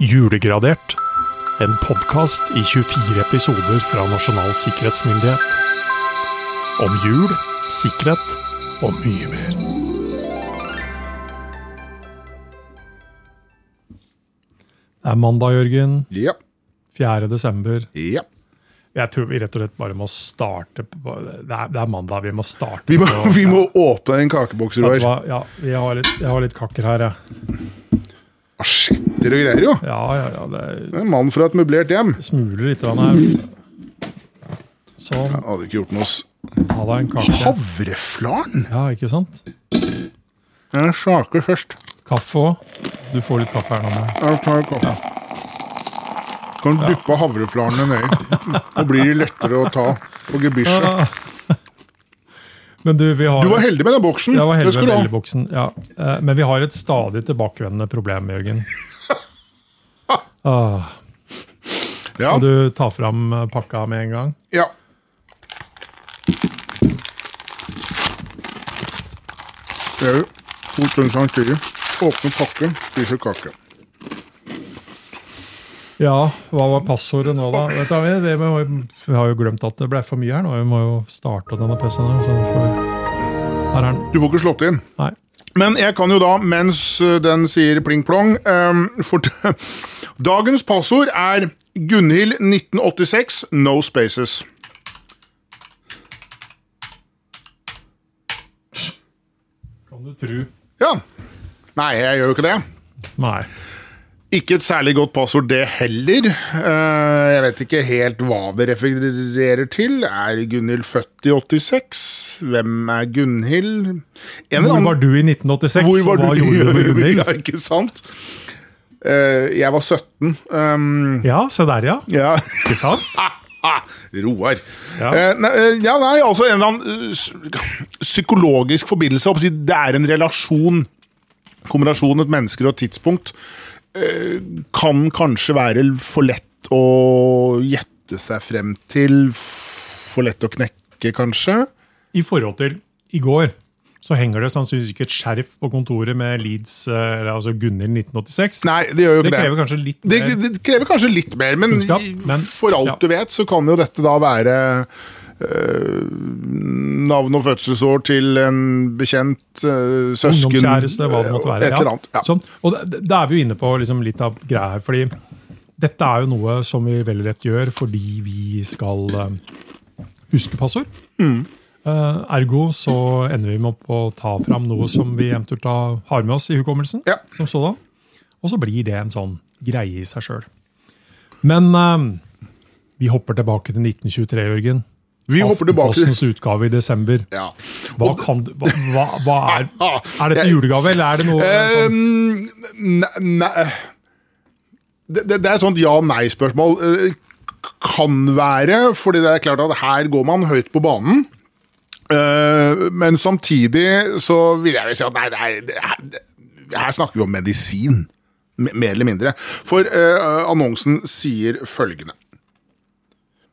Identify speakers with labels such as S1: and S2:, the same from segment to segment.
S1: Julegradert. En podkast i 24 episoder fra Nasjonal sikkerhetsmyndighet. Om jul, sikkerhet og mye mer. Det er mandag, Jørgen.
S2: Ja.
S1: 4. desember.
S2: ja.
S1: Jeg tror vi rett og slett bare må starte på Det er, det er mandag, vi må starte
S2: Vi, må,
S1: på-
S2: vi må åpne en kakeboks,
S1: Vet du
S2: Roar.
S1: hva? Ja, vi har litt, jeg har litt kakker her, jeg.
S2: Ah, Skjetter og greier, jo.
S1: Ja, ja, ja, det er-
S2: En mann fra et møblert hjem.
S1: smuler litt grann her. Sånn.
S2: Jeg hadde ikke gjort noe s-
S1: Ta deg en kake.
S2: Havreflaren?
S1: Ja, ikke sant?
S2: Jeg smaker først.
S1: Kaffe òg. Du får litt kaffe her nå. men-
S2: Jeg tar en kaffe. Kan du duppe havreflarene nedi. Da blir de lettere å ta på gebisjet.
S1: Ah. Men du, vi har
S2: Du var heldig med den boksen.
S1: Jeg var
S2: det
S1: heldig
S2: skal
S1: med
S2: du ha.
S1: meldeboksen. Ja. Eh, Men vi har et stadig tilbakevendende problem, Jørgen. Ah,
S2: Ja.
S1: Skal du ta fram eh, pakka med en gang?
S2: Ja. Det er jo to ting samtidig. Åpne pakke, spise kake.
S1: Ja, hva var passordet nå, da? Vet du, hva, vi, vi, må, jo- vi har jo glemt at det ble for mye her nå. Vi må jo starte denne PC-en her. Så vi får, her er den.
S2: Du får ikke slått inn.
S1: Nei.
S2: Men jeg kan jo da, mens ø, den sier pling-plong ehm, fort- Dagens passord er Gunhild 1986, no spaces.
S1: Kan du tru?
S2: Ja. Nei, jeg gjør jo ikke det.
S1: Nei.
S2: Ikke et særlig godt passord, det heller. Eh, jeg vet ikke helt hva det refererer til. Er Gunhild født i 86? Hvem er Gunhild? En eller
S1: Hvor
S2: annen-
S1: var du i 1986?
S2: Hvor var
S1: og hva
S2: du?
S1: gjorde du med Gunhild?
S2: Ja, ikke sant? Eh, jeg var 17. ehm,
S1: Ja, se der, ja.
S2: ja.
S1: Ikke sant?
S2: Ah, Roar.
S1: Ja.
S2: Eh, nei, eh, ja, nei, altså en eller annen eh, psy- psykologisk forbindelse. holdt på å si. Det er en relasjon. Kombinasjonen et menneske og et tidspunkt eh, kan kanskje være for lett å gjette seg frem til. For lett å knekke, kanskje.
S1: I forhold til i går, så henger det sannsynligvis ikke et skjerf på kontoret med Leeds, eh, eller altså Gunhild 1986.
S2: Nei, det gjør
S1: det
S2: jo ikke det.
S1: krever kanskje litt
S2: Det,
S1: mer.
S2: det krever kanskje litt mer, men,
S1: Kunnskap,
S2: i-
S1: men-
S2: for alt
S1: ja.
S2: du vet, så kan jo dette da være eh, navn og fødselsår til en bekjent eh, søsken eh,
S1: Ungdomskjæreste, hva det måtte være.
S2: Et eller annet. Ja.
S1: Sånn. Og da- da er vi jo inne på liksom litt av greia her, fordi dette er jo noe som vi veldig lett gjør fordi vi skal eh, huske passord.
S2: Mm.
S1: Eh, ergo så ender vi med opp å ta fram noe som vi eventuelt da har med oss i hukommelsen.
S2: Ja.
S1: som sådan. Og så blir det en sånn greie i seg sjøl. Men eh, vi hopper tilbake til 1923, Jørgen.
S2: Vi hopper tilbake til
S1: Aftenpostens utgave i desember.
S2: ja.
S1: Hva, kan, du- hva, hva, hva er
S2: Ah,
S1: Er dette
S2: jeg-
S1: julegave, eller er det noe sånn
S2: Um, ne, ne, det, det, det er et sånt ja-nei-spørsmål. Eh, Kan være, fordi det er klart at her går man høyt på banen. Eh, Men samtidig så vil jeg vel si at nei, det er, det er, det- her snakker vi om medisin. Me- Mer eller mindre. For eh, annonsen sier følgende.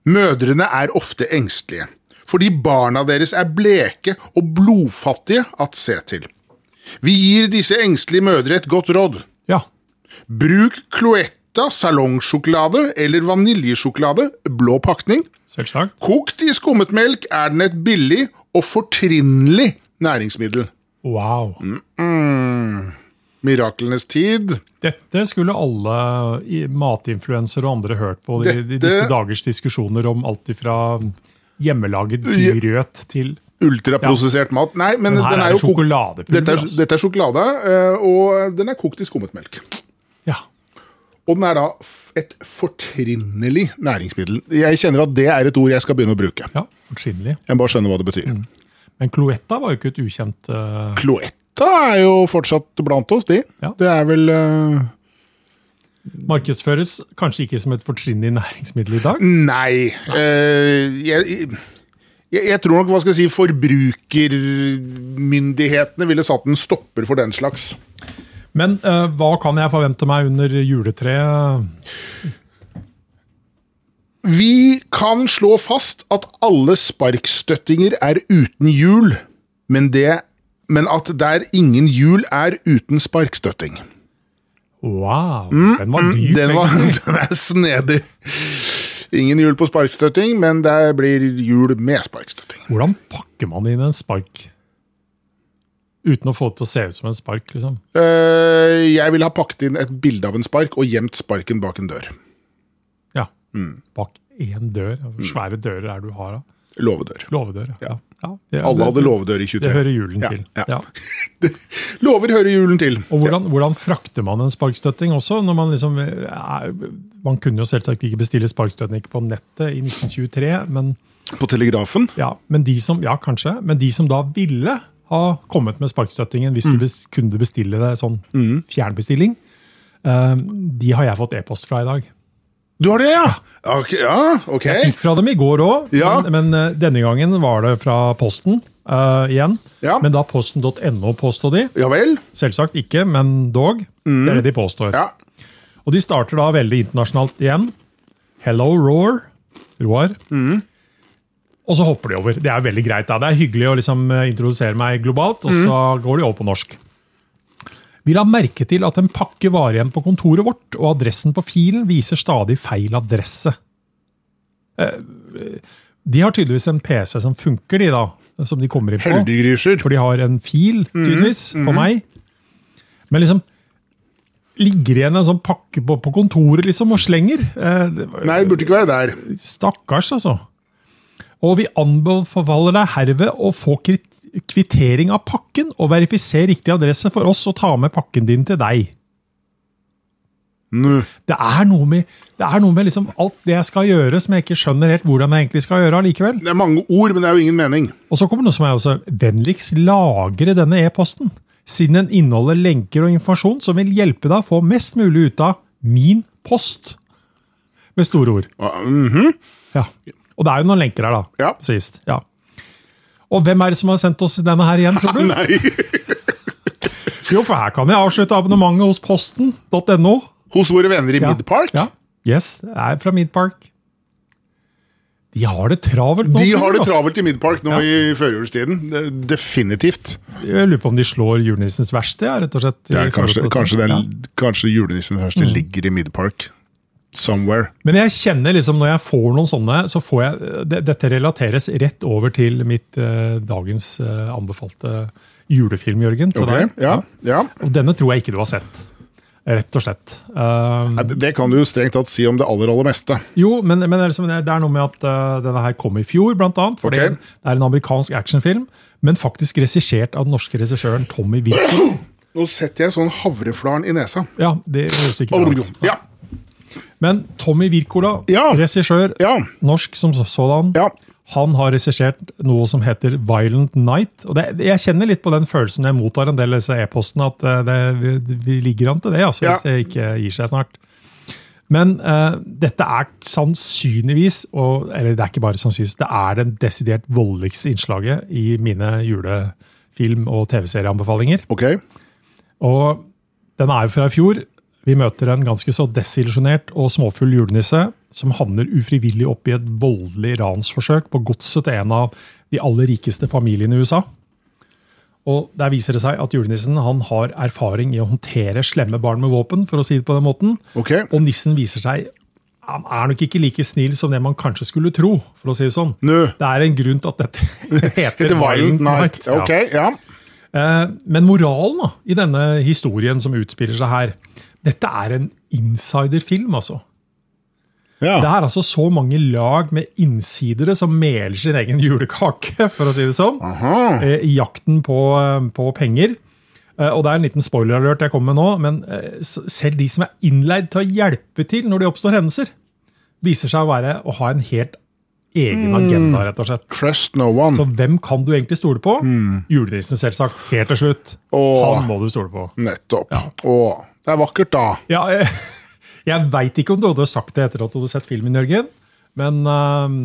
S2: Mødrene er ofte engstelige, fordi barna deres er bleke og blodfattige at se til. Vi gir disse engstelige mødre et godt råd.
S1: Ja.
S2: Bruk Cloetta salongsjokolade eller vaniljesjokolade, blå pakning.
S1: Selvsagt.
S2: Kokt i skummet melk er den et billig og fortrinnelig næringsmiddel.
S1: Wow.
S2: Mm. Miraklenes tid.
S1: Dette skulle alle i- matinfluensere og andre hørt på i, i
S2: Dette-
S1: disse dagers diskusjoner om alt ifra hjemmelaget dyrrødt til
S2: Ultraprosessert mat. Nei, men,
S1: Men her
S2: den
S1: er
S2: er,
S1: det
S2: jo kokt.
S1: sjokoladepulver.
S2: Dette er,
S1: Altså.
S2: dette er sjokolade, eh, og den er kokt i skummet melk.
S1: Ja.
S2: Og den er da f- et fortrinnelig næringsmiddel. Jeg kjenner at det er et ord jeg skal begynne å bruke.
S1: ja Fortrinnelig.
S2: Jeg må bare skjønner hva det betyr.
S1: Men Cloetta var jo ikke et ukjent eh,
S2: Cloetta er jo fortsatt blant oss, de.
S1: Ja.
S2: Det er vel eh,
S1: Markedsføres kanskje ikke som et fortrinnelig næringsmiddel i dag.
S2: Nei. eh, jeg, jeg, jeg tror nok hva skal jeg si, forbrukermyndighetene ville satt en stopper for den slags.
S1: Men eh, hva kan jeg forvente meg under juletreet?
S2: Vi kan slå fast at alle sparkstøttinger er uten hjul, men, det, men at der ingen hjul er uten sparkstøtting.
S1: Wow, den var dyp.
S2: Mm, Den, var,
S1: egentlig.
S2: den er snedig. Ingen hjul på sparkstøtting, men det blir hjul med sparkstøtting.
S1: Hvordan pakker man inn en spark? Uten å få det til å se ut som en spark, liksom.
S2: Eh, jeg ville ha pakket inn et bilde av en spark og gjemt sparken bak en dør.
S1: Ja.
S2: Mm.
S1: Bak én dør. Hvor svære dører er det du har? da?
S2: Låvedør.
S1: Låvedør, ja. ja. ja det,
S2: Alle hadde
S1: det-
S2: låvedør i 23.
S1: Det hører julen til.
S2: Ja, ja.
S1: Ja.
S2: Låver hører julen til.
S1: Og hvordan, hvordan frakter man en sparkstøtting også? når Man liksom er, man kunne jo selvsagt ikke bestille sparkstøtting på nettet i 1923, men,
S2: På telegrafen.
S1: ja, men, de som, ja, kanskje, men de som da ville ha kommet med sparkstøttingen, hvis
S2: Mm.
S1: du bes, kunne bestille det sånn fjernbestilling, eh, de har jeg fått e-post fra i dag.
S2: Du har det, ja! Ok. Ja, ok.
S1: Jeg fikk fra dem i går òg,
S2: Ja.
S1: men, men eh, denne gangen var det fra Posten eh, igjen.
S2: Ja.
S1: Men da posten.no påstod de.
S2: Ja vel?
S1: Selvsagt ikke, men dog. Det er det de påstår.
S2: Ja.
S1: Og de starter da veldig internasjonalt igjen. Hello, Roar. Roar. Og så hopper de over. Det er veldig greit. da. Det er hyggelig å liksom eh, introdusere meg globalt, og så går de over på norsk. Vi la merke til at en pakke var igjen på kontoret vårt, og adressen på filen viser stadig feil adresse. Eh, De har tydeligvis en PC som funker, de da. Som de kommer inn på.
S2: Heldiggryser.
S1: For de har en fil, tydeligvis, på meg. Men liksom Ligger igjen en sånn pakke på, på kontoret liksom, og slenger. Eh, det var-
S2: Nei, det burde ikke være der.
S1: stakkars, altså. Og vi anbefaler deg herved å få krit- kvittering av pakken og verifisere riktig adresse for oss og ta med pakken din til deg.
S2: Nå.
S1: Det er noe med, det er noe med liksom alt det jeg skal gjøre, som jeg ikke skjønner helt hvordan jeg egentlig skal gjøre allikevel.
S2: Det er mange ord, men det er jo ingen mening.
S1: Og så kommer noe som er også vennligst lagre denne e-posten, siden den inneholder lenker og informasjon som vil hjelpe deg å få mest mulig ut av min post. Med store ord.
S2: Ah, mhm.
S1: Ja. Og det er jo noen lenker her, da.
S2: Ja.
S1: Sist. Ja. Og hvem er det som har sendt oss denne her igjen, tror du?
S2: Nei.
S1: Jo, for her kan jeg avslutte abonnementet hos posten.no.
S2: Hos våre venner i Midpark?
S1: Ja. Yes, det er fra Midpark. De har det travelt nå.
S2: De
S1: tror
S2: har
S1: jeg,
S2: det
S1: altså.
S2: travelt i Midpark nå i førjulstiden. Det- Definitivt.
S1: Jeg lurer på om de slår julenissens verksted, ja, rett og slett.
S2: Det
S1: i
S2: er
S1: forhold til
S2: kanskje,
S1: dette.
S2: kanskje, den,
S1: Ja. Mm.
S2: kanskje julenissen først ligger i Midpark. Somewhere.
S1: Men jeg kjenner liksom, når jeg får noen sånne, så får jeg det, Dette relateres rett over til mitt eh, dagens eh, anbefalte julefilm, Jørgen. Til
S2: Ok,
S1: deg.
S2: ja, ja.
S1: Og denne tror jeg ikke du har sett. Rett og slett. Um,
S2: Nei, det- Det kan du jo strengt tatt si om det aller, aller meste.
S1: jo, men, men det, er liksom, det er noe med at eh, denne her kom i fjor, blant annet. For
S2: Ok.
S1: det, det er en amerikansk actionfilm, men faktisk regissert av den norske regissøren Tommy Wilson.
S2: Nå setter jeg sånn havreflaren i nesa.
S1: Ja, det høres ikke
S2: Oh,
S1: bra ut.
S2: Ja,
S1: Men Tommy Wirkola,
S2: Ja.
S1: regissør,
S2: ja,
S1: norsk som sådan,
S2: ja.
S1: Han har regissert noe som heter Violent Night. og det, Jeg kjenner litt på den følelsen jeg mottar en del av disse e-postene, at eh, det, vi, vi ligger an til det, altså,
S2: Ja.
S1: hvis det ikke gir seg snart. Men eh, dette er sannsynligvis, og, eller det er ikke bare sannsynligvis, det er det desidert voldeligste innslaget i mine julefilm- og TV-serieanbefalinger.
S2: Ok.
S1: Og den er jo fra i fjor. Vi møter en ganske så desillusjonert og småfull julenisse som havner ufrivillig opp i et voldelig ransforsøk på godset til en av de aller rikeste familiene i USA. Og Der viser det seg at julenissen han har erfaring i å håndtere slemme barn med våpen. for å si det på den måten.
S2: Ok.
S1: Og nissen viser seg han er nok ikke like snill som det man kanskje skulle tro. for å si Det sånn.
S2: Nå.
S1: Det er en grunn til at dette heter
S2: The Violent Night.
S1: Ja.
S2: Ok, ja.
S1: Eh, Men moralen da, i denne historien som utspiller seg her Dette er en insiderfilm, altså. Det
S2: ja.
S1: er altså så mange lag med innsidere som meler sin egen julekake, for å si det sånn,
S2: Aha.
S1: eh, i jakten på, eh, på penger. Eh, Og det er en liten spoiler-alert jeg kommer med nå, men eh, s- selv de som er innleid til å hjelpe til når det oppstår hendelser, viser seg å, være, å ha en helt egen agenda, rett og slett.
S2: Trust no one.
S1: Så hvem kan du egentlig stole på? Julenissen, selvsagt. Helt til slutt.
S2: Åh.
S1: Han må du stole på.
S2: Nettopp. Å, det er vakkert, da.
S1: Ja, eh, jeg veit ikke om du hadde sagt det etter at du hadde sett filmen, Jørgen, men ehm,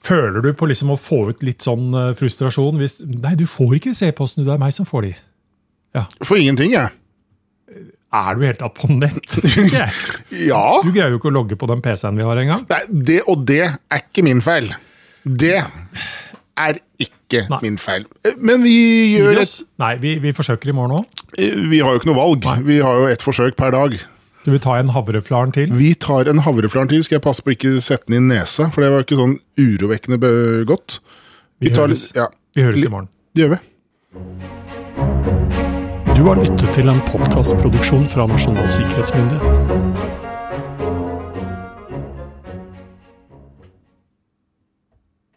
S1: Føler du på liksom å få ut litt sånn eh, frustrasjon hvis Nei, du får ikke disse e-postene, det er meg som får de.
S2: For ingenting, jeg.
S1: Er du helt tatt på nett? du
S2: Ja.
S1: greier jo ikke å logge på den PC-en vi har engang.
S2: Nei, det og det er ikke min feil. Det er ikke ikke
S1: Nei.
S2: min feil. Eh, Men vi
S1: Gir
S2: gjør
S1: vi
S2: et
S1: oss? Nei, vi, vi forsøker i morgen òg.
S2: eh, Vi har jo ikke noe valg. Vi har jo ett forsøk per dag.
S1: Du vil ta en havreflaren til?
S2: Vi tar en havreflaren til. Skal jeg passe på å ikke sette den i nesa, for det var ikke sånn urovekkende be- godt.
S1: Vi
S2: tar
S1: høres.
S2: litt- Ja,
S1: Vi høres i morgen.
S2: det gjør vi.
S1: Du har lyttet til en podkastproduksjon fra Nasjonal sikkerhetsmyndighet.